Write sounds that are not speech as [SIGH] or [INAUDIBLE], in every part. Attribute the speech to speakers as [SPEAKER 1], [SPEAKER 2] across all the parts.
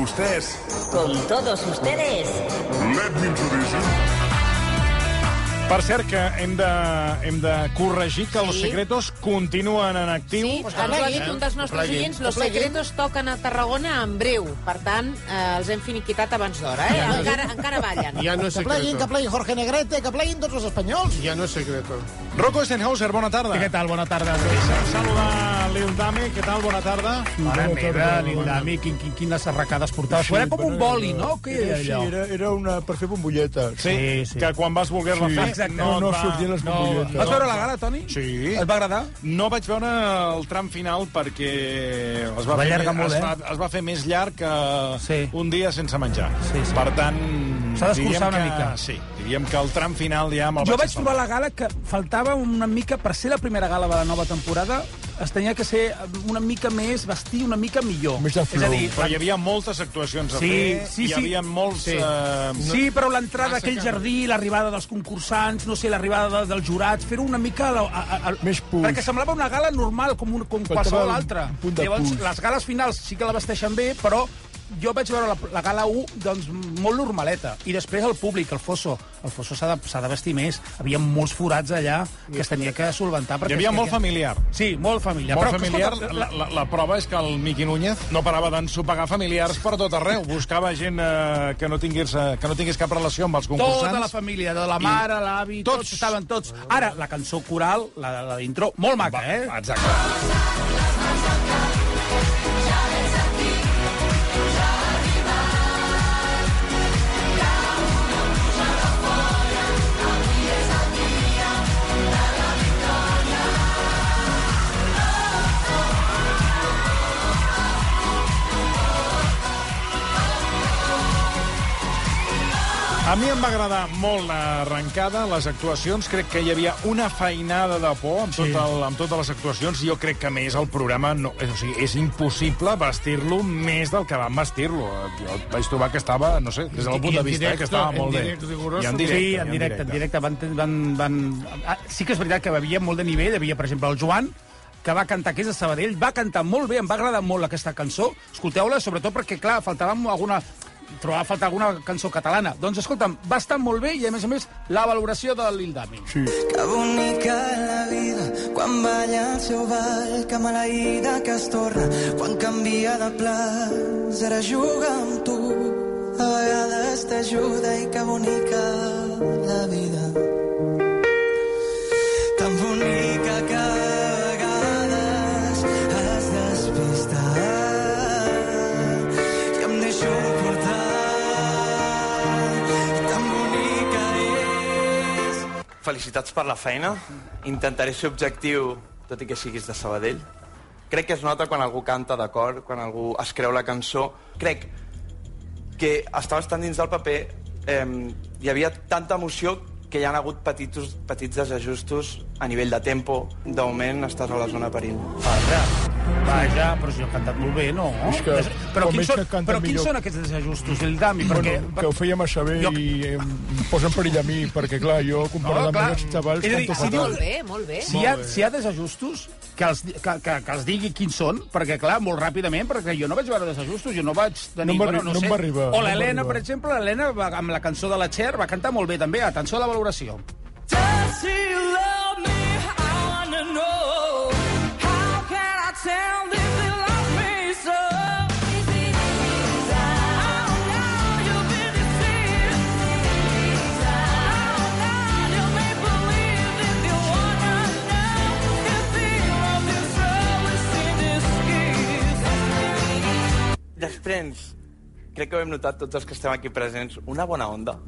[SPEAKER 1] ustedes.
[SPEAKER 2] Con todos ustedes.
[SPEAKER 3] Let me introduce you.
[SPEAKER 1] Per cert, que hem de, hem de corregir que los
[SPEAKER 4] Sí.
[SPEAKER 1] secretos continuen en actiu.
[SPEAKER 4] Sí, ens ho ha dit un dels nostres oients, Los Secretos toquen a Tarragona en breu. Per tant, eh, els hem finiquitat abans d'hora, eh? Encara, encara ballen.
[SPEAKER 5] Ja no és
[SPEAKER 6] Que pleguin, que
[SPEAKER 5] secreto.
[SPEAKER 6] pleguin Jorge Negrete, que pleguin tots els espanyols.
[SPEAKER 5] Ja no és secreto.
[SPEAKER 1] Rocco Stenhauser, bona tarda.
[SPEAKER 7] Què tal? Bona tarda.
[SPEAKER 1] Deixa'm saludar Lil Dami. Què tal? Bona tarda.
[SPEAKER 7] Mare meva, l'Indami, quin, quin, quines arracades portava. Sí, era com un boli, no? Què era allò?
[SPEAKER 6] era una, per fer bombolleta.
[SPEAKER 1] Sí,
[SPEAKER 7] Sí, sí.
[SPEAKER 1] que quan vas voler-la fer...
[SPEAKER 7] Exacte.
[SPEAKER 1] et
[SPEAKER 7] No, no
[SPEAKER 1] va-
[SPEAKER 7] sortien les bombolletes.
[SPEAKER 1] Vas veure la
[SPEAKER 7] gala, Toni?
[SPEAKER 1] Sí.
[SPEAKER 7] Et va agradar?
[SPEAKER 1] No vaig veure el tram final perquè es va,
[SPEAKER 7] Va
[SPEAKER 1] fer,
[SPEAKER 7] allargar
[SPEAKER 1] més-
[SPEAKER 7] molt,
[SPEAKER 1] es,
[SPEAKER 7] eh?
[SPEAKER 1] va, es va fer més llarg que
[SPEAKER 7] Sí.
[SPEAKER 1] un dia sense menjar.
[SPEAKER 7] Sí, sí.
[SPEAKER 1] Per tant...
[SPEAKER 7] S'ha
[SPEAKER 1] diríem
[SPEAKER 7] d'escurçar una
[SPEAKER 1] que,
[SPEAKER 7] mica.
[SPEAKER 1] Sí, diríem que el tram final ja me'l
[SPEAKER 7] Jo
[SPEAKER 1] vaig
[SPEAKER 7] vaig trobar la gala que faltava una mica, per ser la primera gala de la nova temporada, es tenia que ser una mica més, vestir una mica millor.
[SPEAKER 6] Més de
[SPEAKER 7] És a
[SPEAKER 6] flow.
[SPEAKER 7] dir,
[SPEAKER 1] Però hi havia moltes actuacions a
[SPEAKER 7] Sí,
[SPEAKER 1] fer,
[SPEAKER 7] sí,
[SPEAKER 1] hi
[SPEAKER 7] sí.
[SPEAKER 1] havia molts...
[SPEAKER 7] Sí.
[SPEAKER 1] Eh,
[SPEAKER 7] Sí, però l'entrada d'aquell jardí, l'arribada dels concursants, no sé, l'arribada de, del jurat, fer-ho una mica... A, a, a, a-
[SPEAKER 6] Més puls.
[SPEAKER 7] Perquè semblava una gala normal, com, un, com
[SPEAKER 6] Faltava
[SPEAKER 7] qualsevol
[SPEAKER 6] un
[SPEAKER 7] altra.
[SPEAKER 6] punt de
[SPEAKER 7] Llavors,
[SPEAKER 6] puls.
[SPEAKER 7] les gales finals sí que la vesteixen bé, però jo vaig veure la, la gala 1 doncs, molt normaleta. I després el públic, el Fosso. El Fosso s'ha de, s'ha de vestir més. Hi havia molts forats allà que es tenia que solventar.
[SPEAKER 1] hi
[SPEAKER 7] perquè
[SPEAKER 1] havia
[SPEAKER 7] es-
[SPEAKER 1] molt familiar.
[SPEAKER 7] Sí, molt familiar.
[SPEAKER 1] Molt
[SPEAKER 7] però,
[SPEAKER 1] familiar,
[SPEAKER 7] escolta,
[SPEAKER 1] la, la, la prova és que el Miqui Núñez no parava d'ensopegar familiars per tot arreu. Buscava gent eh, que, no tingués, eh, que no tingués cap relació amb els concursants.
[SPEAKER 7] Tota la família, de la mare, l'avi, tots.
[SPEAKER 1] tots.
[SPEAKER 7] tots estaven tots. Ara, la cançó coral, la, la d'intro, molt maca, eh?
[SPEAKER 1] Exacte. A mi em va agradar molt l'arrencada, les actuacions. Crec que hi havia una feinada de por amb, tot el, amb totes les actuacions. Jo crec que, a més, el programa no, és, o sigui, és impossible vestir-lo més del que van vestir-lo. Eh, Jo vaig trobar que estava, no sé, des del
[SPEAKER 5] I-
[SPEAKER 1] punt
[SPEAKER 5] i
[SPEAKER 1] de
[SPEAKER 5] en
[SPEAKER 1] vista, eh, que
[SPEAKER 5] directe,
[SPEAKER 1] estava
[SPEAKER 5] en
[SPEAKER 1] molt bé.
[SPEAKER 5] directe, rigoroso.
[SPEAKER 1] I en
[SPEAKER 7] sí, en directe, en directe. Van, van, van... Ah, Sí que és veritat que havia molt de nivell, havia, per exemple, el Joan, que va cantar, que és de Sabadell, va cantar molt bé, em va agradar molt aquesta cançó. Escolteu-la, sobretot perquè, clar, faltava alguna trobava a faltar alguna cançó catalana. Doncs, escolta'm, va estar molt bé i, a més a més, la valoració de l'Ildami. Sí.
[SPEAKER 8] Que bonica la vida quan balla el seu ball, que maleïda que es torna quan canvia de plans, ara juga amb tu. A vegades t'ajuda i que bonica la vida. Tan bonica que a vegades es despista i em deixo portar. I tan bonica és
[SPEAKER 9] Felicitats per la feina. Intentaré ser objectiu, tot i que siguis de Sabadell. Crec que es nota quan algú canta d'acord, quan algú es creu la cançó. Crec que estaves tan dins del paper, eh, hi havia tanta emoció que hi ha hagut petits, petits desajustos a nivell de tempo. De moment estàs a la zona perill.
[SPEAKER 7] Vaja, vaja, però si ho ha cantat molt bé, no?
[SPEAKER 6] És que
[SPEAKER 7] però
[SPEAKER 6] com
[SPEAKER 7] quins
[SPEAKER 6] ells
[SPEAKER 7] són,
[SPEAKER 6] que canten
[SPEAKER 7] però quins
[SPEAKER 6] millor.
[SPEAKER 7] són aquests desajustos, l'Ildami? Perquè...
[SPEAKER 6] Bueno, que ho fèiem a saber
[SPEAKER 7] Jo-
[SPEAKER 6] i eh, em posa en perill a mi, perquè, clar, jo, comparat
[SPEAKER 7] No,
[SPEAKER 6] amb
[SPEAKER 7] clar.
[SPEAKER 6] els xavals...
[SPEAKER 7] És a dir,
[SPEAKER 6] canto
[SPEAKER 7] si
[SPEAKER 6] fatal.
[SPEAKER 4] Molt bé, molt bé.
[SPEAKER 7] Si hi, ha, si hi ha desajustos, que els, di- que, que, que els digui quins són, perquè, clar, molt ràpidament, perquè jo no vaig veure desajustos, jo no vaig tenir...
[SPEAKER 6] em va arri- no em va arribar,
[SPEAKER 7] O
[SPEAKER 6] no em va
[SPEAKER 7] l'Helena,
[SPEAKER 6] arribar.
[SPEAKER 7] per exemple, l'Helena va- amb la cançó de la Cher va cantar molt bé, també. Atenció a la valoració.
[SPEAKER 8] Does he love me? I wanna know. How can I tell if he loves me so? Oh, now you've been deceived. Oh, now you make believe if you wanna know if he loves you so, it's in this kiss.
[SPEAKER 9] Després, crec que ho hem notat tots els que estem aquí presents, una bona onda.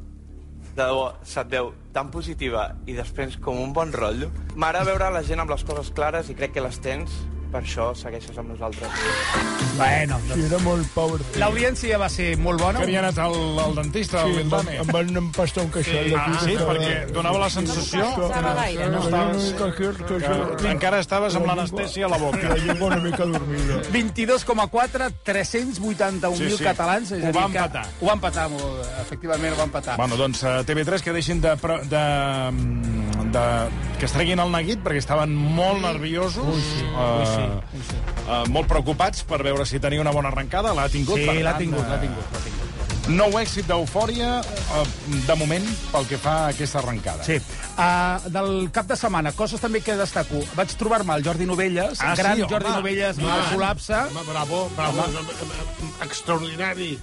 [SPEAKER 9] De debò, se't veu tan positiva i després com un bon rotllo. M'agrada veure la gent amb les coses clares i crec que les tens, per això segueixes amb nosaltres.
[SPEAKER 7] Bueno, doncs,
[SPEAKER 6] Sí, era molt power.
[SPEAKER 7] l'audiència va ser molt bona.
[SPEAKER 1] Que havia anat al, al dentista,
[SPEAKER 6] Sí,
[SPEAKER 1] sí,
[SPEAKER 6] em, van,
[SPEAKER 1] l'Ildame.
[SPEAKER 6] em van empastar un queixal d'aquí.
[SPEAKER 1] Ah, sí, perquè donava la sensació
[SPEAKER 4] Estava gaire, no?
[SPEAKER 1] que encara estaves amb l'anestèsia a la boca.
[SPEAKER 6] La llengua una mica dormida.
[SPEAKER 7] 22,4, 381.000
[SPEAKER 1] Sí, sí.
[SPEAKER 7] catalans. És
[SPEAKER 1] Ho
[SPEAKER 7] a dir
[SPEAKER 1] va
[SPEAKER 7] que
[SPEAKER 1] empatar.
[SPEAKER 7] Ho va empatar, molt, bé, efectivament, ho va empatar.
[SPEAKER 1] Bueno, doncs a TV3 que deixin de... pro- de, mm, de que es treguin el neguit perquè estaven molt nerviosos. Ui, sí. Uh, sí, sí. Uh, molt preocupats per veure si tenia una bona arrencada. L'ha tingut, per
[SPEAKER 7] Sí, l'ha
[SPEAKER 1] tant,
[SPEAKER 7] tingut,
[SPEAKER 1] eh,
[SPEAKER 7] l'ha tingut, l'ha tingut.
[SPEAKER 1] Nou èxit d'Eufòria, eh, de moment, pel que fa a aquesta arrencada.
[SPEAKER 7] Sí. Uh, del cap de setmana, coses també que destaco. Vaig trobar-me el Jordi Novelles,
[SPEAKER 1] Ah, sí,
[SPEAKER 7] gran
[SPEAKER 1] home.
[SPEAKER 7] Jordi Novelles, no,
[SPEAKER 5] Home.
[SPEAKER 7] col·lapse.
[SPEAKER 5] Home, bravo, bravo. Home. Extraordinari.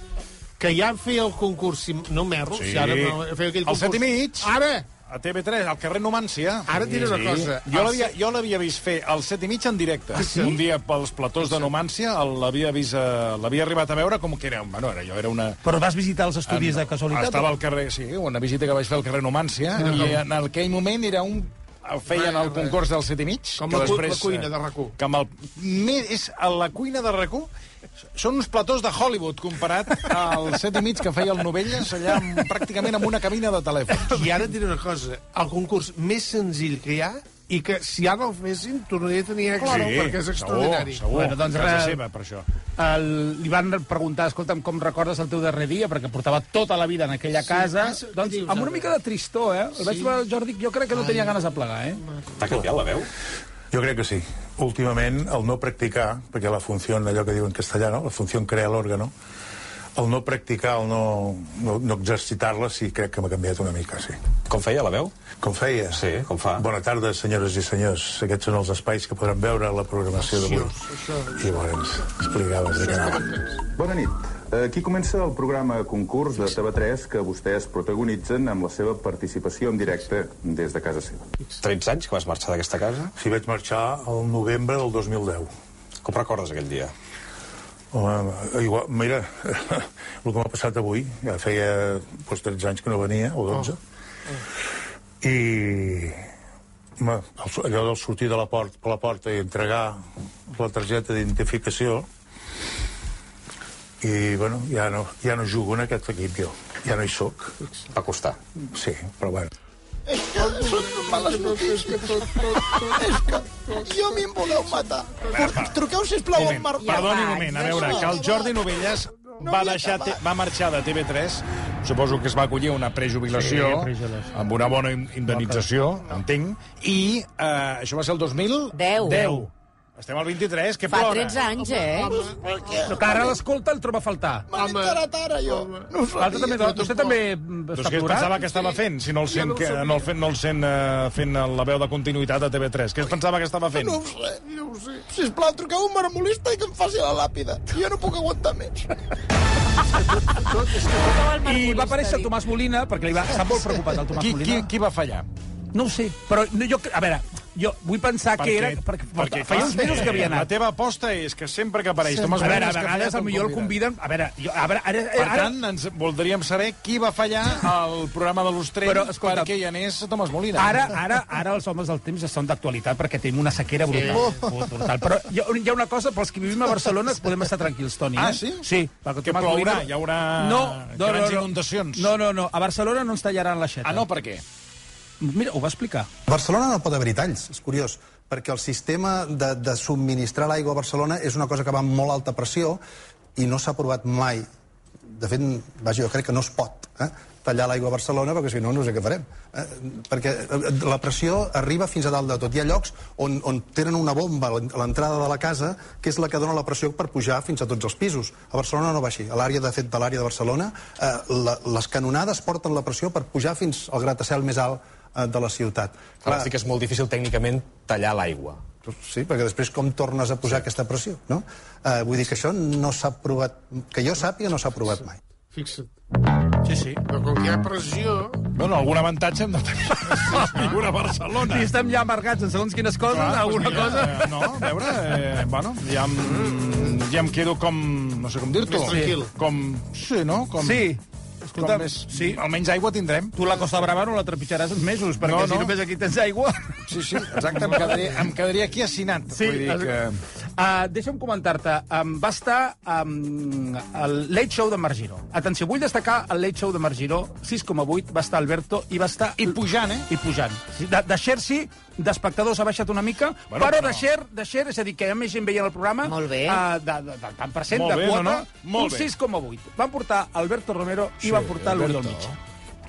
[SPEAKER 5] Que ja feia el concurs, si no m'erro,
[SPEAKER 1] Sí.
[SPEAKER 5] si ara no, feia aquell
[SPEAKER 1] Al
[SPEAKER 5] concurs...
[SPEAKER 1] set i mig.
[SPEAKER 5] Ara!
[SPEAKER 1] A TV3, al carrer Numància.
[SPEAKER 5] Ara et diré una cosa.
[SPEAKER 1] Jo
[SPEAKER 5] Al Ah,
[SPEAKER 1] l'havia jo l'havia vist fer al set i mig en directe. sí? Un dia pels platós de Numància, el- l'havia vist, eh, l'havia arribat a veure com que era... Bueno, era, jo era una...
[SPEAKER 7] Però vas visitar els estudis de casualitat?
[SPEAKER 1] Estava al carrer, sí, una visita que vaig fer al carrer Numància, i en aquell moment era un feien el concurs del set i mig.
[SPEAKER 5] Com
[SPEAKER 1] que
[SPEAKER 5] la cu- la
[SPEAKER 1] després,
[SPEAKER 5] cuina
[SPEAKER 1] eh,
[SPEAKER 5] de RAC1.
[SPEAKER 1] Que amb el, me- és a la cuina de rac són uns platós de Hollywood comparat al set i mig que feia el Novelles allà amb, pràcticament amb una cabina de telèfon.
[SPEAKER 5] I ara et diré una cosa. El concurs més senzill que hi ha i que si ara el fessin tornaria a tenir èxit,
[SPEAKER 1] Sí,
[SPEAKER 5] perquè [LAUGHS] és extraordinari.
[SPEAKER 1] Segur, segur.
[SPEAKER 7] Bueno, doncs
[SPEAKER 1] Casa
[SPEAKER 7] res.
[SPEAKER 1] seva, per això.
[SPEAKER 7] El, li van preguntar, escolta'm, com recordes el teu darrer dia, perquè portava tota la vida en aquella
[SPEAKER 5] Sí,
[SPEAKER 7] casa.
[SPEAKER 5] ah, sí, què
[SPEAKER 7] doncs,
[SPEAKER 5] dius,
[SPEAKER 7] amb una
[SPEAKER 5] ara?
[SPEAKER 7] mica de tristor, eh? El vaig veure, el Jordi, jo crec que no tenia ganes de plegar, eh?
[SPEAKER 10] T'ha canviat la veu?
[SPEAKER 11] Jo crec que sí. Últimament, el no practicar, perquè la funció, allò que diu en castellà, no? la funció crea l'òrgano, el no practicar, el no, no, no exercitar-la, sí, crec que m'ha canviat una mica, sí.
[SPEAKER 10] Com feia la veu?
[SPEAKER 11] Com feia?
[SPEAKER 10] Sí, com fa.
[SPEAKER 11] Bona tarda, senyores i senyors. Aquests són els espais que podran veure a la programació d'avui. I bueno, ens explicaves de què anava.
[SPEAKER 10] Bona nit. Aquí comença el programa concurs de TV3 que vostès protagonitzen amb la seva participació en directe des de casa seva. 13 anys que vas marxar d'aquesta casa?
[SPEAKER 11] Si vaig marxar al novembre del 2010.
[SPEAKER 10] Com recordes aquell dia?
[SPEAKER 11] Home, igual, mira, [LAUGHS] el que m'ha passat avui, ja feia doncs, 13 anys que no venia, o 12, oh. i home, el so- allò del sortir de la porta, per la porta i entregar la targeta d'identificació, i, bueno, ja no, ja no jugo en aquest equip, jo. Ja no hi sóc.
[SPEAKER 10] Va costar.
[SPEAKER 11] Sí, però bueno.
[SPEAKER 1] moment, perdoni un moment, a veure, que el Jordi Novelles va, deixar, te- va marxar de TV3, suposo que es va acollir una prejubilació,
[SPEAKER 7] Sí, prejubilació.
[SPEAKER 1] amb una bona in- indemnització, entenc, i eh, això va ser el 2010.
[SPEAKER 4] Deu.
[SPEAKER 1] Estem al 23, que
[SPEAKER 4] Fa
[SPEAKER 1] plora.
[SPEAKER 4] 13 anys, eh?
[SPEAKER 7] No, que ara l'escolta el troba a faltar.
[SPEAKER 5] Home,
[SPEAKER 7] L'altre també, vostè
[SPEAKER 5] jo tampoc.
[SPEAKER 7] també mm,
[SPEAKER 1] Doncs
[SPEAKER 7] està
[SPEAKER 1] què es pensava
[SPEAKER 7] plorant?
[SPEAKER 1] que estava fent, si no el sent, que, no el fent, no el sent eh, fent la veu de continuïtat a TV3? Què es pensava que estava fent?
[SPEAKER 8] Sisplau, truqueu un marmolista i que em faci la làpida. Jo no puc aguantar més.
[SPEAKER 7] I va aparèixer el Tomàs Molina, perquè li va... Està molt preocupat, el Tomàs
[SPEAKER 1] Qui, qui,
[SPEAKER 7] Molina.
[SPEAKER 1] qui va fallar?
[SPEAKER 7] No ho sé, però no, jo... cre- A veure, jo vull pensar que era... Perquè, perquè feia uns mesos que havia
[SPEAKER 1] La
[SPEAKER 7] anat.
[SPEAKER 1] teva aposta és que sempre que apareix
[SPEAKER 7] A
[SPEAKER 1] Tomàs
[SPEAKER 7] veure, a
[SPEAKER 1] Molina és que ha
[SPEAKER 7] vegades
[SPEAKER 1] fallat un
[SPEAKER 7] potser el
[SPEAKER 1] convidat.
[SPEAKER 7] conviden... A veure, jo, a veure ara,
[SPEAKER 1] Per
[SPEAKER 7] Eh, ara,
[SPEAKER 1] tant, ens voldríem saber qui va fallar al programa de l'Ostrell
[SPEAKER 7] Però, escolta,
[SPEAKER 1] perquè hi anés Tomàs Molina.
[SPEAKER 7] Ara, ara, ara els homes del temps ja són d'actualitat perquè tenim una sequera brutal. Sí. Oh. brutal. Però hi ha, hi ha una cosa, pels que vivim a Barcelona podem estar tranquils, Toni. Eh?
[SPEAKER 1] Ah, sí?
[SPEAKER 7] Sí. perquè
[SPEAKER 1] Que
[SPEAKER 7] Tomàs
[SPEAKER 1] plourà,
[SPEAKER 7] Molina-
[SPEAKER 1] hi haurà grans inundacions.
[SPEAKER 7] No, no, no. A Barcelona no ens tallaran l'aixeta.
[SPEAKER 1] Ah, no, per què?
[SPEAKER 7] Mira, ho va explicar.
[SPEAKER 10] A Barcelona no pot haver-hi talls, és curiós, perquè el sistema Ah, de, de subministrar l'aigua a Barcelona és una cosa que va amb molt alta pressió i no s'ha provat mai. De fet, vaja, jo crec que no es pot eh, tallar l'aigua a Barcelona, perquè si no, no sé què farem. Eh, perquè eh, la pressió arriba fins a dalt de tot. Hi ha llocs on, on tenen una bomba a l'en- a l'entrada de la casa, que és la que dona la pressió per pujar fins a tots els pisos. A Barcelona no va així. A l'àrea, de fet, de l'àrea de Barcelona, eh, la, les canonades porten la pressió per pujar fins al gratacel més alt eh, de la ciutat. Clar,
[SPEAKER 11] que és molt difícil tècnicament tallar l'aigua.
[SPEAKER 10] Sí, perquè després com tornes a posar aquesta pressió, no? Eh, vull dir que això no s'ha provat... Que jo sàpiga, no s'ha provat mai.
[SPEAKER 5] Fixa't.
[SPEAKER 7] Sí, sí.
[SPEAKER 5] Però com que hi ha pressió...
[SPEAKER 1] Bueno, algun avantatge hem de tenir. Figura Barcelona.
[SPEAKER 7] Si estem ja amargats en segons quines coses,
[SPEAKER 1] Clar,
[SPEAKER 7] alguna
[SPEAKER 1] doncs mira,
[SPEAKER 7] cosa...
[SPEAKER 1] eh, No, a veure, eh, bueno, ja em, ja em quedo com... No sé com dir-t'ho.
[SPEAKER 5] Més tranquil.
[SPEAKER 1] Com... Sí, no? Com,
[SPEAKER 7] Sí.
[SPEAKER 1] Com
[SPEAKER 7] Escolta,
[SPEAKER 1] més, sí.
[SPEAKER 7] sí.
[SPEAKER 1] Almenys aigua tindrem.
[SPEAKER 7] Tu la Costa Brava no la trepitjaràs en mesos, perquè
[SPEAKER 1] No,
[SPEAKER 7] no, no.
[SPEAKER 1] no.
[SPEAKER 7] si només aquí tens aigua...
[SPEAKER 1] Sí, sí, exacte. Em quedaria, em quedaria aquí assinat.
[SPEAKER 7] Sí,
[SPEAKER 1] Vull dir que...
[SPEAKER 7] uh, deixa'm comentar-te. Um, va estar um, el Late Show de Marc Giró. Atenció, vull destacar el Late Show de Marc Giró, 6,8, va estar Alberto i va estar...
[SPEAKER 1] I pujant, eh?
[SPEAKER 7] I pujant. Sí, De, de Cher sí, d'espectadors ha baixat una mica,
[SPEAKER 1] Bueno,
[SPEAKER 7] bueno, però
[SPEAKER 1] però-
[SPEAKER 7] de Cher, de Cher, és a dir, que hi ha més gent veient el programa...
[SPEAKER 4] Molt bé.
[SPEAKER 7] Uh, de, de, de, tant percent
[SPEAKER 1] Molt
[SPEAKER 7] de
[SPEAKER 1] bé,
[SPEAKER 7] quota,
[SPEAKER 1] no, no? Molt
[SPEAKER 7] un
[SPEAKER 1] bé.
[SPEAKER 7] 6,8. Van portar Alberto Romero i van portar l'Oriol Mig.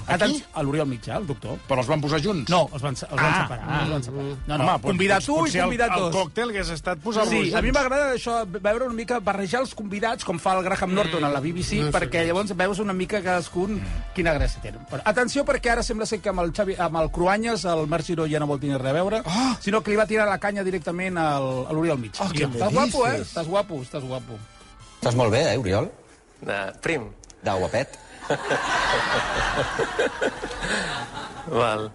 [SPEAKER 7] Aquí? A l'Oriol Mitjà, el doctor.
[SPEAKER 1] Però els van posar junts?
[SPEAKER 7] No, els van, se- els van
[SPEAKER 1] Ah,
[SPEAKER 7] separar.
[SPEAKER 1] ah.
[SPEAKER 7] els van separar. No, no,
[SPEAKER 1] Home,
[SPEAKER 7] Home, convidar
[SPEAKER 1] doncs
[SPEAKER 7] tu i
[SPEAKER 1] potser el-
[SPEAKER 7] convidar dos.
[SPEAKER 1] El còctel hagués estat posar-los
[SPEAKER 7] Sí,
[SPEAKER 1] junts.
[SPEAKER 7] a mi m'agrada això, veure una mica, barrejar els convidats, com fa el Graham Norton a la BBC,
[SPEAKER 5] No sé.
[SPEAKER 7] perquè llavors veus una mica cadascun quina gràcia tenen. Però atenció, perquè ara sembla ser que amb el, Xavi, amb el Cruanyes el Marc Giró ja no vol tenir res a veure, oh! sinó que li va tirar la canya directament al, a l'Oriol Mig.
[SPEAKER 12] Oh, què me
[SPEAKER 7] estàs guapo, eh?
[SPEAKER 12] dices?
[SPEAKER 7] Estàs guapo, estàs guapo.
[SPEAKER 12] Estàs molt bé, eh, Oriol?
[SPEAKER 13] De prim.
[SPEAKER 12] De guapet.
[SPEAKER 14] Val.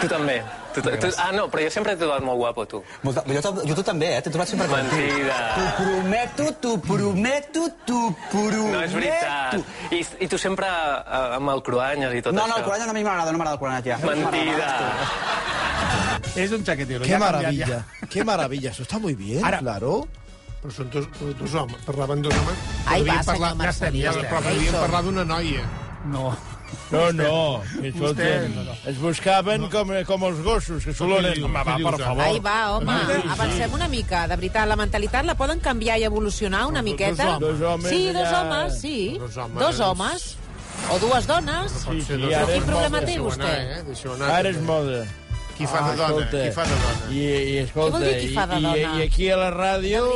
[SPEAKER 14] tu també. Tu, ta- tu, ah, no, però jo sempre t'he trobat molt guapo, tu.
[SPEAKER 12] Molta... Jo, tam- jo tu també, eh? T'he trobat sempre content.
[SPEAKER 14] Mentida.
[SPEAKER 12] T'ho prometo, t'ho prometo, t'ho prometo.
[SPEAKER 14] No, és veritat. I, i tu sempre eh, amb el Cruanyes i tot
[SPEAKER 12] No,
[SPEAKER 14] això.
[SPEAKER 12] no, el Cruanyes no a mi m'agrada, no m'agrada el Cruanyes, ja.
[SPEAKER 14] Mentida.
[SPEAKER 7] És un xaquetero.
[SPEAKER 15] Qué
[SPEAKER 7] ja ha canviat,
[SPEAKER 15] maravilla, qué maravilla. Eso está muy
[SPEAKER 7] eh?
[SPEAKER 15] bien, claro.
[SPEAKER 5] Però són dos, dos homes, parlaven dos homes.
[SPEAKER 4] Ai,
[SPEAKER 5] Podríem
[SPEAKER 4] va, senyor
[SPEAKER 5] parlar-
[SPEAKER 4] Marcelí,
[SPEAKER 5] Ja estem, Però
[SPEAKER 4] ja estem.
[SPEAKER 5] podríem
[SPEAKER 4] Ja hi
[SPEAKER 5] parlar d'una noia.
[SPEAKER 7] No.
[SPEAKER 16] No, no,
[SPEAKER 5] Vostè.
[SPEAKER 16] que
[SPEAKER 5] Vostè.
[SPEAKER 16] escolten, es buscaven com, com els gossos, que s'oloren. Home, va, per favor.
[SPEAKER 4] Ai, va, home, avancem una mica. De veritat, la mentalitat la poden canviar i evolucionar una miqueta?
[SPEAKER 16] homes. Dos homes,
[SPEAKER 4] sí, dos
[SPEAKER 16] allà.
[SPEAKER 4] homes, sí.
[SPEAKER 16] Dos
[SPEAKER 4] Dos
[SPEAKER 16] homes.
[SPEAKER 4] homes. Dos homes. O dues dones.
[SPEAKER 16] Sí, sí,
[SPEAKER 4] Però
[SPEAKER 16] ara
[SPEAKER 4] quin
[SPEAKER 16] és
[SPEAKER 4] problema
[SPEAKER 16] moda.
[SPEAKER 4] té vostè?
[SPEAKER 16] eh?
[SPEAKER 5] Deixeu anar,
[SPEAKER 16] Ara és moda.
[SPEAKER 5] eh, Qui fa de dona? Qui fa de dona?
[SPEAKER 16] I, i escolta,
[SPEAKER 5] Què vol dir qui fa de
[SPEAKER 16] i, i,
[SPEAKER 5] dona?
[SPEAKER 16] i aquí a la ràdio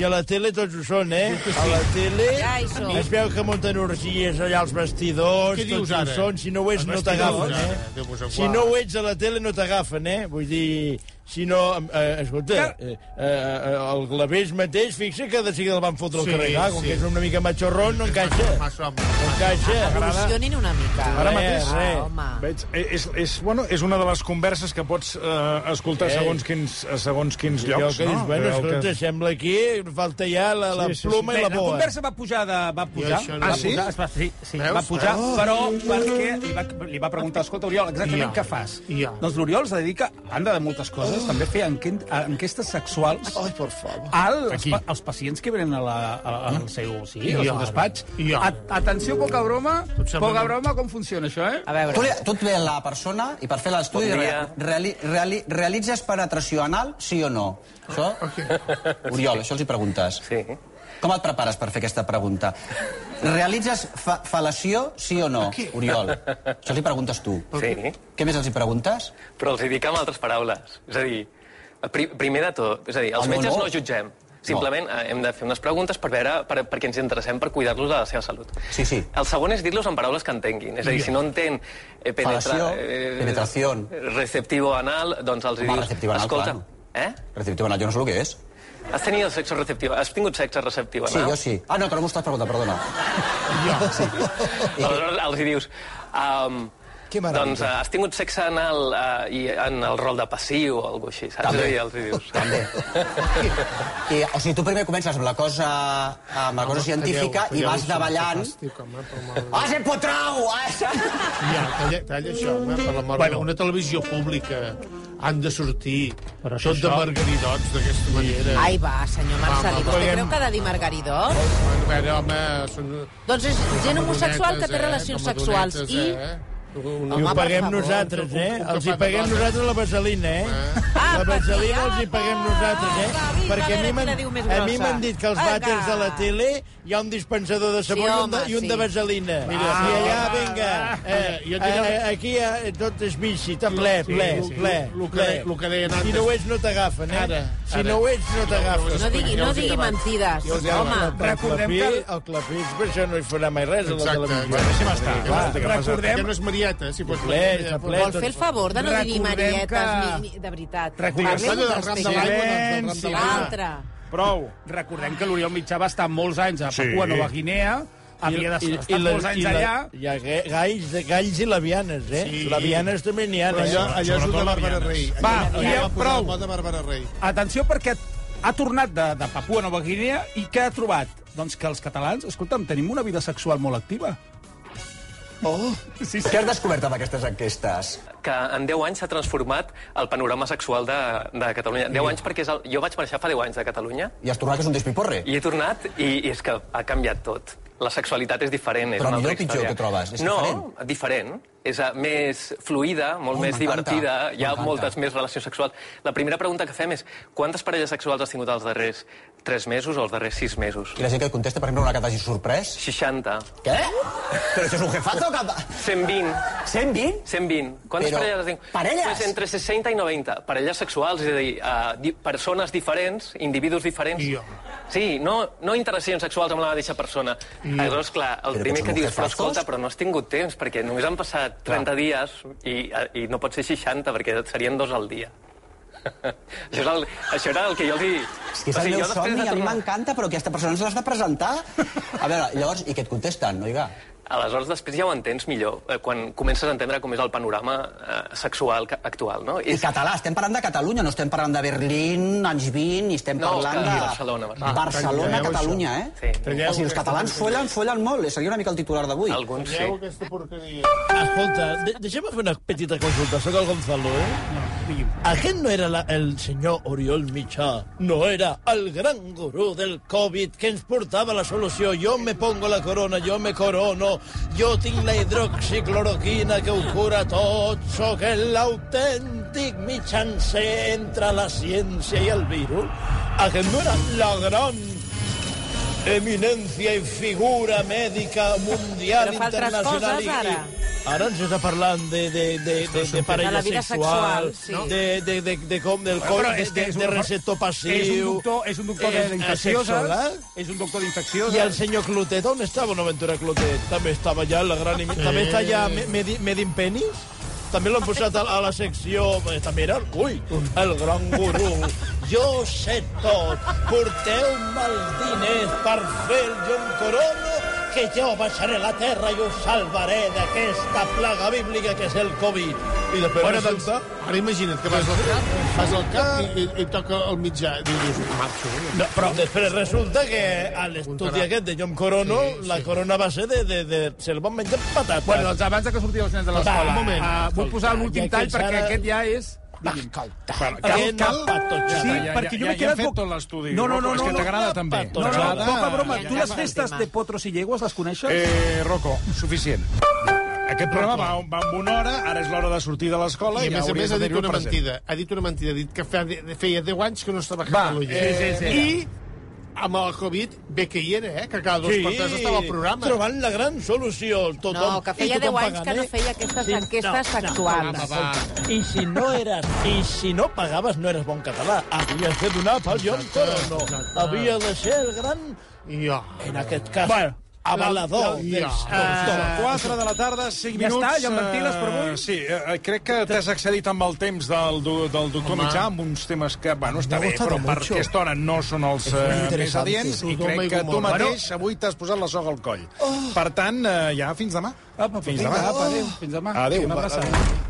[SPEAKER 16] i a la tele tots ho són, eh? A la tele
[SPEAKER 5] Ja hi som.
[SPEAKER 16] es veu que munten orgies allà als vestidors,
[SPEAKER 5] Què dius
[SPEAKER 16] tots
[SPEAKER 5] ara?
[SPEAKER 16] ho són, si no ho ets
[SPEAKER 5] Els
[SPEAKER 16] no
[SPEAKER 5] vestidors,
[SPEAKER 16] t'agafen,
[SPEAKER 5] ara,
[SPEAKER 16] eh?
[SPEAKER 5] Déu-vos en
[SPEAKER 16] Si
[SPEAKER 5] guard.
[SPEAKER 16] no ho ets a la tele no t'agafen, eh? Vull dir, si no... Eh, escolta, eh, eh, el Glavés mateix, fixa que de seguida el van fotre al
[SPEAKER 5] Sí,
[SPEAKER 16] carrer, clar, com
[SPEAKER 5] sí.
[SPEAKER 16] que és una mica matxorron, no encaixa. No encaixa.
[SPEAKER 4] Evolucionin una mica.
[SPEAKER 1] Ara mateix
[SPEAKER 4] Ah, home.
[SPEAKER 1] Veig, eh, és, és, bueno, és una de les converses que pots eh, escoltar
[SPEAKER 16] Eh.
[SPEAKER 1] segons quins, segons quins
[SPEAKER 16] Allò
[SPEAKER 1] llocs,
[SPEAKER 16] que dius,
[SPEAKER 1] no?
[SPEAKER 16] bueno,
[SPEAKER 1] Allò que-
[SPEAKER 16] escolta, sembla aquí, falta ja la, la pluma i la
[SPEAKER 7] Bé,
[SPEAKER 16] boa.
[SPEAKER 7] La conversa va pujar de... Va pujar,
[SPEAKER 16] això no
[SPEAKER 7] va
[SPEAKER 16] ho sé.
[SPEAKER 7] pujar, es va, sí, sí,
[SPEAKER 16] Veus?
[SPEAKER 7] va pujar
[SPEAKER 16] Oh.
[SPEAKER 7] però perquè li va, li va preguntar, escolta, Oriol, exactament
[SPEAKER 16] Ja.
[SPEAKER 7] què fas?
[SPEAKER 16] Ja.
[SPEAKER 7] Doncs l'Oriol es dedica, a de moltes coses, també fer enquen- a- enquestes sexuals
[SPEAKER 16] Ai, por favor.
[SPEAKER 7] al, als,
[SPEAKER 16] Aquí.
[SPEAKER 7] pa- als pacients que venen a la, a, al seu, sí,
[SPEAKER 16] I
[SPEAKER 7] al seu
[SPEAKER 16] ara.
[SPEAKER 7] despatx.
[SPEAKER 16] I ara.
[SPEAKER 7] A- Atenció, poca broma,
[SPEAKER 16] sembla
[SPEAKER 7] poca
[SPEAKER 16] que-
[SPEAKER 7] broma, com funciona això, eh?
[SPEAKER 12] A veure. Tu, li- tu et ve la persona i per fer l'estudi
[SPEAKER 7] Bon dia.
[SPEAKER 12] reali, reali, reali, realitzes penetració anal, sí o no? Això? Oriol, això els hi preguntes. Sí. Com et prepares per fer aquesta pregunta? Realitzes fa fal·lació, sí o no, Oriol? Això els hi preguntes tu.
[SPEAKER 14] Sí.
[SPEAKER 12] Què més els hi preguntes?
[SPEAKER 14] Però els hi dic amb altres paraules. És a dir, pri primer de tot, és a dir, els
[SPEAKER 12] Home,
[SPEAKER 14] metges
[SPEAKER 12] Ah, no.
[SPEAKER 14] no jutgem. Simplement eh, hem de fer unes preguntes per veure per, perquè ens interessem per cuidar-los de la seva salut.
[SPEAKER 12] Sí, sí.
[SPEAKER 14] El segon és dir-los amb paraules que entenguin. És a dir, si no entén eh,
[SPEAKER 12] Fal·lació, penetración.
[SPEAKER 14] receptivo anal, doncs els hi
[SPEAKER 12] Home,
[SPEAKER 14] dius...
[SPEAKER 12] receptivo anal,
[SPEAKER 14] Escolta,
[SPEAKER 12] clar.
[SPEAKER 14] eh?
[SPEAKER 12] Receptiu anal, jo no sé el que és.
[SPEAKER 14] Has tenido sexo receptivo? Has tingut sexe receptiu
[SPEAKER 12] Sí,
[SPEAKER 14] anal?
[SPEAKER 12] jo sí. Ah, no, que no m'ho estàs preguntant, perdona.
[SPEAKER 14] Aleshores els hi dius... Um,
[SPEAKER 12] Que maravilla.
[SPEAKER 14] doncs uh, has tingut sexe anal uh, i en el rol de passiu o alguna cosa així, saps? També.
[SPEAKER 12] També.
[SPEAKER 14] I els hi dius...
[SPEAKER 12] També. [LAUGHS] I, o sigui, tu primer comences amb la cosa, amb la cosa científica i vas davallant... Ah, se potrau! Ah, [LAUGHS] se...
[SPEAKER 5] Ja, talla, talla això, home, per la mort. Bueno, una televisió pública han de sortir Però tot de margaridots d'aquesta manera.
[SPEAKER 4] Ai, va, senyor
[SPEAKER 5] Va,
[SPEAKER 4] Marcelí,
[SPEAKER 5] va,
[SPEAKER 4] vostè
[SPEAKER 5] veiem.
[SPEAKER 4] creu que ha de dir margaridor?
[SPEAKER 5] Bueno, a veure, home, són...
[SPEAKER 4] Doncs és gent homosexual que té
[SPEAKER 5] Madonetes, eh,
[SPEAKER 4] relacions
[SPEAKER 5] com
[SPEAKER 4] sexuals
[SPEAKER 5] madonetes,
[SPEAKER 4] i...
[SPEAKER 5] Una-
[SPEAKER 16] I eh? ho
[SPEAKER 5] Home, per
[SPEAKER 16] paguem
[SPEAKER 5] favor.
[SPEAKER 16] nosaltres, eh?
[SPEAKER 5] Un- un
[SPEAKER 16] Els hi
[SPEAKER 5] cafè
[SPEAKER 16] paguem
[SPEAKER 5] de dona.
[SPEAKER 16] nosaltres la vaselina, eh?
[SPEAKER 4] Ah,
[SPEAKER 16] La vaselina els hi paguem nosaltres, eh? Perquè a mi m'han- a mi m'han dit que els vàters de la tele hi ha un dispensador de sabó
[SPEAKER 5] Sí,
[SPEAKER 16] i un de,
[SPEAKER 5] home,
[SPEAKER 16] i un de
[SPEAKER 5] sí.
[SPEAKER 16] vaselina. Ah,
[SPEAKER 5] Mira,
[SPEAKER 16] I
[SPEAKER 5] sí,
[SPEAKER 16] allà,
[SPEAKER 5] home.
[SPEAKER 16] vinga, eh,
[SPEAKER 5] Mira, jo
[SPEAKER 16] eh,
[SPEAKER 5] diré-
[SPEAKER 16] eh, aquí eh, tot és bici, està ple,
[SPEAKER 5] Sí,
[SPEAKER 16] ple,
[SPEAKER 5] sí.
[SPEAKER 16] ple,
[SPEAKER 5] Lo que
[SPEAKER 16] ple.
[SPEAKER 5] de- lo que deien
[SPEAKER 16] Si
[SPEAKER 5] antes.
[SPEAKER 16] no ho ets, no t'agafen, eh?
[SPEAKER 5] Ara,
[SPEAKER 16] Si
[SPEAKER 5] ara.
[SPEAKER 16] no ho ets, no t'agafen.
[SPEAKER 4] No digui, no digui mentides, home.
[SPEAKER 16] Recordem que... El clapís, per això no hi farà mai res, a la
[SPEAKER 5] Exacte,
[SPEAKER 16] televisió.
[SPEAKER 5] exacte. Deixem estar.
[SPEAKER 16] Clar,
[SPEAKER 5] Exacte, que passa-
[SPEAKER 16] Recordem...
[SPEAKER 5] que no és Marieta, si pots-
[SPEAKER 16] Ple, està ple,
[SPEAKER 4] Vol fer el favor de no dir ni
[SPEAKER 7] Recordem
[SPEAKER 4] marietes,
[SPEAKER 7] que-
[SPEAKER 4] ni, ni, de veritat.
[SPEAKER 7] Recordem-
[SPEAKER 4] Parlem
[SPEAKER 7] Allò del
[SPEAKER 4] amb
[SPEAKER 5] doncs,
[SPEAKER 7] ram de
[SPEAKER 4] respecte.
[SPEAKER 7] l'aigua, del- del ram de l'aigua.
[SPEAKER 4] Altre.
[SPEAKER 1] Prou.
[SPEAKER 7] Recordem que l'Oriol Mitjà va estar molts anys a Papua
[SPEAKER 16] Sí.
[SPEAKER 7] Nova Guinea, havia de estar
[SPEAKER 16] la-
[SPEAKER 7] molts anys
[SPEAKER 16] i la-
[SPEAKER 7] allà...
[SPEAKER 16] Hi ha ga- galls, de galls i lavianes, eh? Sí. Lavianes també n'hi ha. eh?
[SPEAKER 5] Però allò, allò és el de Bàrbara Rey.
[SPEAKER 7] Va,
[SPEAKER 5] allò,
[SPEAKER 7] diem
[SPEAKER 5] va posar
[SPEAKER 7] prou.
[SPEAKER 5] el mot de Bàrbara Rey.
[SPEAKER 7] Atenció perquè ha tornat de, de Papua Nova Guinea i què ha trobat? Doncs que els catalans, escolta'm, tenim una vida sexual molt activa.
[SPEAKER 12] Oh,
[SPEAKER 7] sí,
[SPEAKER 12] Què has descobert amb aquestes enquestes?
[SPEAKER 14] que en 10 anys s'ha transformat el panorama sexual de, de Catalunya. 10 anys perquè és el, jo vaig marxar fa 10 anys de Catalunya
[SPEAKER 12] I has tornat que és un despiporre?
[SPEAKER 14] i he tornat i, i és que ha canviat tot. La sexualitat és diferent. És
[SPEAKER 12] Però
[SPEAKER 14] una
[SPEAKER 12] millor
[SPEAKER 14] altra
[SPEAKER 12] o pitjor
[SPEAKER 14] història.
[SPEAKER 12] que trobes? És
[SPEAKER 14] no, diferent. diferent. és eh, més fluida, molt
[SPEAKER 12] Oh,
[SPEAKER 14] oh, més
[SPEAKER 12] m'encanta,
[SPEAKER 14] divertida, hi ha
[SPEAKER 12] m'encanta.
[SPEAKER 14] moltes més relacions sexuals. La primera pregunta que fem és quantes parelles sexuals has tingut els darrers 3 mesos o els darrers 6 mesos?
[SPEAKER 12] I la gent que et contesta, per exemple, una que t'hagi sorprès?
[SPEAKER 14] 60.
[SPEAKER 12] Què? Però això és un jefazo que...
[SPEAKER 14] 120.
[SPEAKER 12] 120?
[SPEAKER 14] 120. Quantes
[SPEAKER 12] Però-
[SPEAKER 14] parelles has tingut?
[SPEAKER 12] Parelles?
[SPEAKER 14] Pues entre 60 i 90. Parelles sexuals, és a dir, uh, di persones diferents, individus diferents.
[SPEAKER 5] Jo.
[SPEAKER 14] Sí, no, no interaccions sexuals amb la mateixa persona. Ah,
[SPEAKER 5] Jo.
[SPEAKER 14] Llavors, clar, el
[SPEAKER 5] Però
[SPEAKER 14] primer
[SPEAKER 5] que
[SPEAKER 14] que
[SPEAKER 5] són
[SPEAKER 14] dius, però
[SPEAKER 5] jefazos?"
[SPEAKER 14] escolta, però no has tingut temps, perquè només han passat 30 dies i, eh, i no pot ser 60, perquè serien dos al dia. això, és el, això era el que jo els hi...
[SPEAKER 12] És que és el meu
[SPEAKER 14] jo després
[SPEAKER 12] somni,
[SPEAKER 14] de
[SPEAKER 12] a mi
[SPEAKER 14] tornar-
[SPEAKER 12] m'encanta, però aquesta persona ens l'has de presentar. A veure, llavors, i què et contesten, noiga?
[SPEAKER 14] Aleshores, després ja ho entens millor, eh, quan comences a entendre com és el panorama eh, sexual ca- actual, no?
[SPEAKER 12] I català, estem parlant de Catalunya, no estem parlant de Berlín, anys 20, i estem
[SPEAKER 14] No,
[SPEAKER 12] parlant
[SPEAKER 14] Catalunya,
[SPEAKER 12] de...
[SPEAKER 14] Barcelona,
[SPEAKER 12] Barcelona,
[SPEAKER 14] Barcelona.
[SPEAKER 12] Barcelona
[SPEAKER 5] Talleu
[SPEAKER 12] Catalunya,
[SPEAKER 5] això.
[SPEAKER 12] eh?
[SPEAKER 5] Sí.
[SPEAKER 12] O
[SPEAKER 5] Talleu
[SPEAKER 12] sigui, els
[SPEAKER 5] aquesta
[SPEAKER 12] catalans
[SPEAKER 5] porqueria.
[SPEAKER 12] follen, follen molt. eh? Seria una mica el titular d'avui.
[SPEAKER 14] Alguns
[SPEAKER 5] Talleu aquesta porqueria.
[SPEAKER 16] Escolta, de deixa'm fer una petita consulta. Soc el Gonzalo, eh? Aquest no era la, el senyor Oriol Mitjà, no era el gran gurú del Covid que ens portava la solució. Jo me pongo la corona, jo me corono, jo tinc la hidroxicloroquina que ho cura tot. Soc l'autèntic mitjancer entre la ciència i el virus. Aquest no era la gran eminència i figura mèdica mundial
[SPEAKER 4] Però fa altres
[SPEAKER 16] internacional.
[SPEAKER 4] coses,
[SPEAKER 16] i-
[SPEAKER 4] ara.
[SPEAKER 16] Ara ens està parlant de, de, de, de, de
[SPEAKER 4] De
[SPEAKER 16] parella
[SPEAKER 4] la vida
[SPEAKER 16] sexual,
[SPEAKER 4] sexual, sí.
[SPEAKER 16] de, de, de, de com, del
[SPEAKER 7] Però
[SPEAKER 16] com,
[SPEAKER 7] és que
[SPEAKER 16] de,
[SPEAKER 7] és un-
[SPEAKER 16] de receptor passiu...
[SPEAKER 7] És un doctor, és un doctor
[SPEAKER 16] és
[SPEAKER 7] d'infeccioses.
[SPEAKER 16] asexual,
[SPEAKER 7] És un doctor
[SPEAKER 16] eh?
[SPEAKER 7] d'infeccioses.
[SPEAKER 16] I el senyor Clotet, on estava Bonaventura Clotet? També estava allà en la gran... Sí. També està allà me- medi- Medin Penis? També l'han posat a, a la secció... eh, També era, ui, el gran gurú. Jo sé tot. Porteu-me els diners per fer el John Corono que jo baixaré a la terra i us salvaré d'aquesta plaga bíblica que és el Covid. I després
[SPEAKER 5] Bueno,
[SPEAKER 16] bueno,
[SPEAKER 5] doncs,
[SPEAKER 16] resulta...
[SPEAKER 5] ara imagina't que vas al cap, vas al cap i, i, i toca el mitjà. I dius, marxo. eh".
[SPEAKER 16] No, però després resulta que a l'estudi aquest de John Corono, sí, sí. la corona va ser de... de, de se el van menjar amb patates.
[SPEAKER 7] Bueno, doncs abans de que sortiu els nens de l'escola,
[SPEAKER 16] Va, un moment.
[SPEAKER 7] eh, vull posar l'últim
[SPEAKER 16] Ja
[SPEAKER 7] tall
[SPEAKER 16] que
[SPEAKER 7] perquè
[SPEAKER 16] ara-
[SPEAKER 7] aquest ja és... Digui'm.
[SPEAKER 1] Cal,
[SPEAKER 7] Aquest
[SPEAKER 1] cal...
[SPEAKER 7] Sí, perquè jo m'he quedat...
[SPEAKER 1] fet
[SPEAKER 7] bo-
[SPEAKER 1] tot l'estudi.
[SPEAKER 7] No, no, no,
[SPEAKER 1] És
[SPEAKER 7] no,
[SPEAKER 1] que
[SPEAKER 7] no,
[SPEAKER 1] t'agrada
[SPEAKER 7] no,
[SPEAKER 1] també.
[SPEAKER 7] No, no, no,
[SPEAKER 1] T'agrada.
[SPEAKER 7] poca broma. Tu les
[SPEAKER 1] T'agrada.
[SPEAKER 7] festes de potros i llegües les coneixes?
[SPEAKER 1] Eh, Rocco, suficient. Aquest programa va, va amb una hora, ara és l'hora de sortir de l'escola
[SPEAKER 5] I
[SPEAKER 1] i,
[SPEAKER 5] a més a
[SPEAKER 1] hauries
[SPEAKER 5] més ha
[SPEAKER 1] de
[SPEAKER 5] dit
[SPEAKER 1] tenir-ho
[SPEAKER 5] una
[SPEAKER 1] present.
[SPEAKER 5] mentida. Ha dit una mentida. Ha dit que feia, feia 10 anys que no estava a
[SPEAKER 1] Va,
[SPEAKER 5] Catalunya.
[SPEAKER 1] sí, sí, sí.
[SPEAKER 5] I amb el Covid ve que hi era, eh? Que cada dos
[SPEAKER 16] Sí,
[SPEAKER 5] sí. per tres estava al programa.
[SPEAKER 16] trobant la gran solució. Tothom,
[SPEAKER 4] No, que feia
[SPEAKER 16] i tothom
[SPEAKER 4] 10 anys que no
[SPEAKER 16] pagant, eh?
[SPEAKER 4] feia aquestes
[SPEAKER 16] Sí,
[SPEAKER 4] enquestes
[SPEAKER 16] no, no,
[SPEAKER 4] sexuals.
[SPEAKER 16] no, va, va. I si no eres... I si no pagaves, no eres bon català. Havies de donar pel John Corono. Havia de ser el gran...
[SPEAKER 5] Ja.
[SPEAKER 16] En aquest cas, bueno,
[SPEAKER 5] la-
[SPEAKER 16] avalador dels
[SPEAKER 5] ja.
[SPEAKER 1] Eh,
[SPEAKER 16] doctors.
[SPEAKER 1] 4 de la tarda, 5
[SPEAKER 7] Ja
[SPEAKER 1] minuts.
[SPEAKER 7] està, ja em ventiles per avui?
[SPEAKER 1] eh, Sí, eh, crec que t'has excedit amb el temps del, do- del doctor
[SPEAKER 5] Home.
[SPEAKER 1] Mitjà, amb uns temes que, bueno, està
[SPEAKER 16] Me ha
[SPEAKER 1] bé,
[SPEAKER 16] gustado
[SPEAKER 1] però per
[SPEAKER 16] mucho.
[SPEAKER 1] aquesta hora no són els
[SPEAKER 16] Es muy
[SPEAKER 1] eh, més
[SPEAKER 16] interesante.
[SPEAKER 1] adients, i
[SPEAKER 5] Sodoma
[SPEAKER 1] crec
[SPEAKER 5] i
[SPEAKER 1] que tu
[SPEAKER 5] Gomorra.
[SPEAKER 1] mateix avui t'has posat la
[SPEAKER 7] Oh.
[SPEAKER 1] soga al coll. Per tant, eh, ja, fins demà.
[SPEAKER 7] Apa,
[SPEAKER 1] Fins demà.
[SPEAKER 7] Apa, adéu. Fins demà.
[SPEAKER 1] Adéu.
[SPEAKER 7] Una abraçada.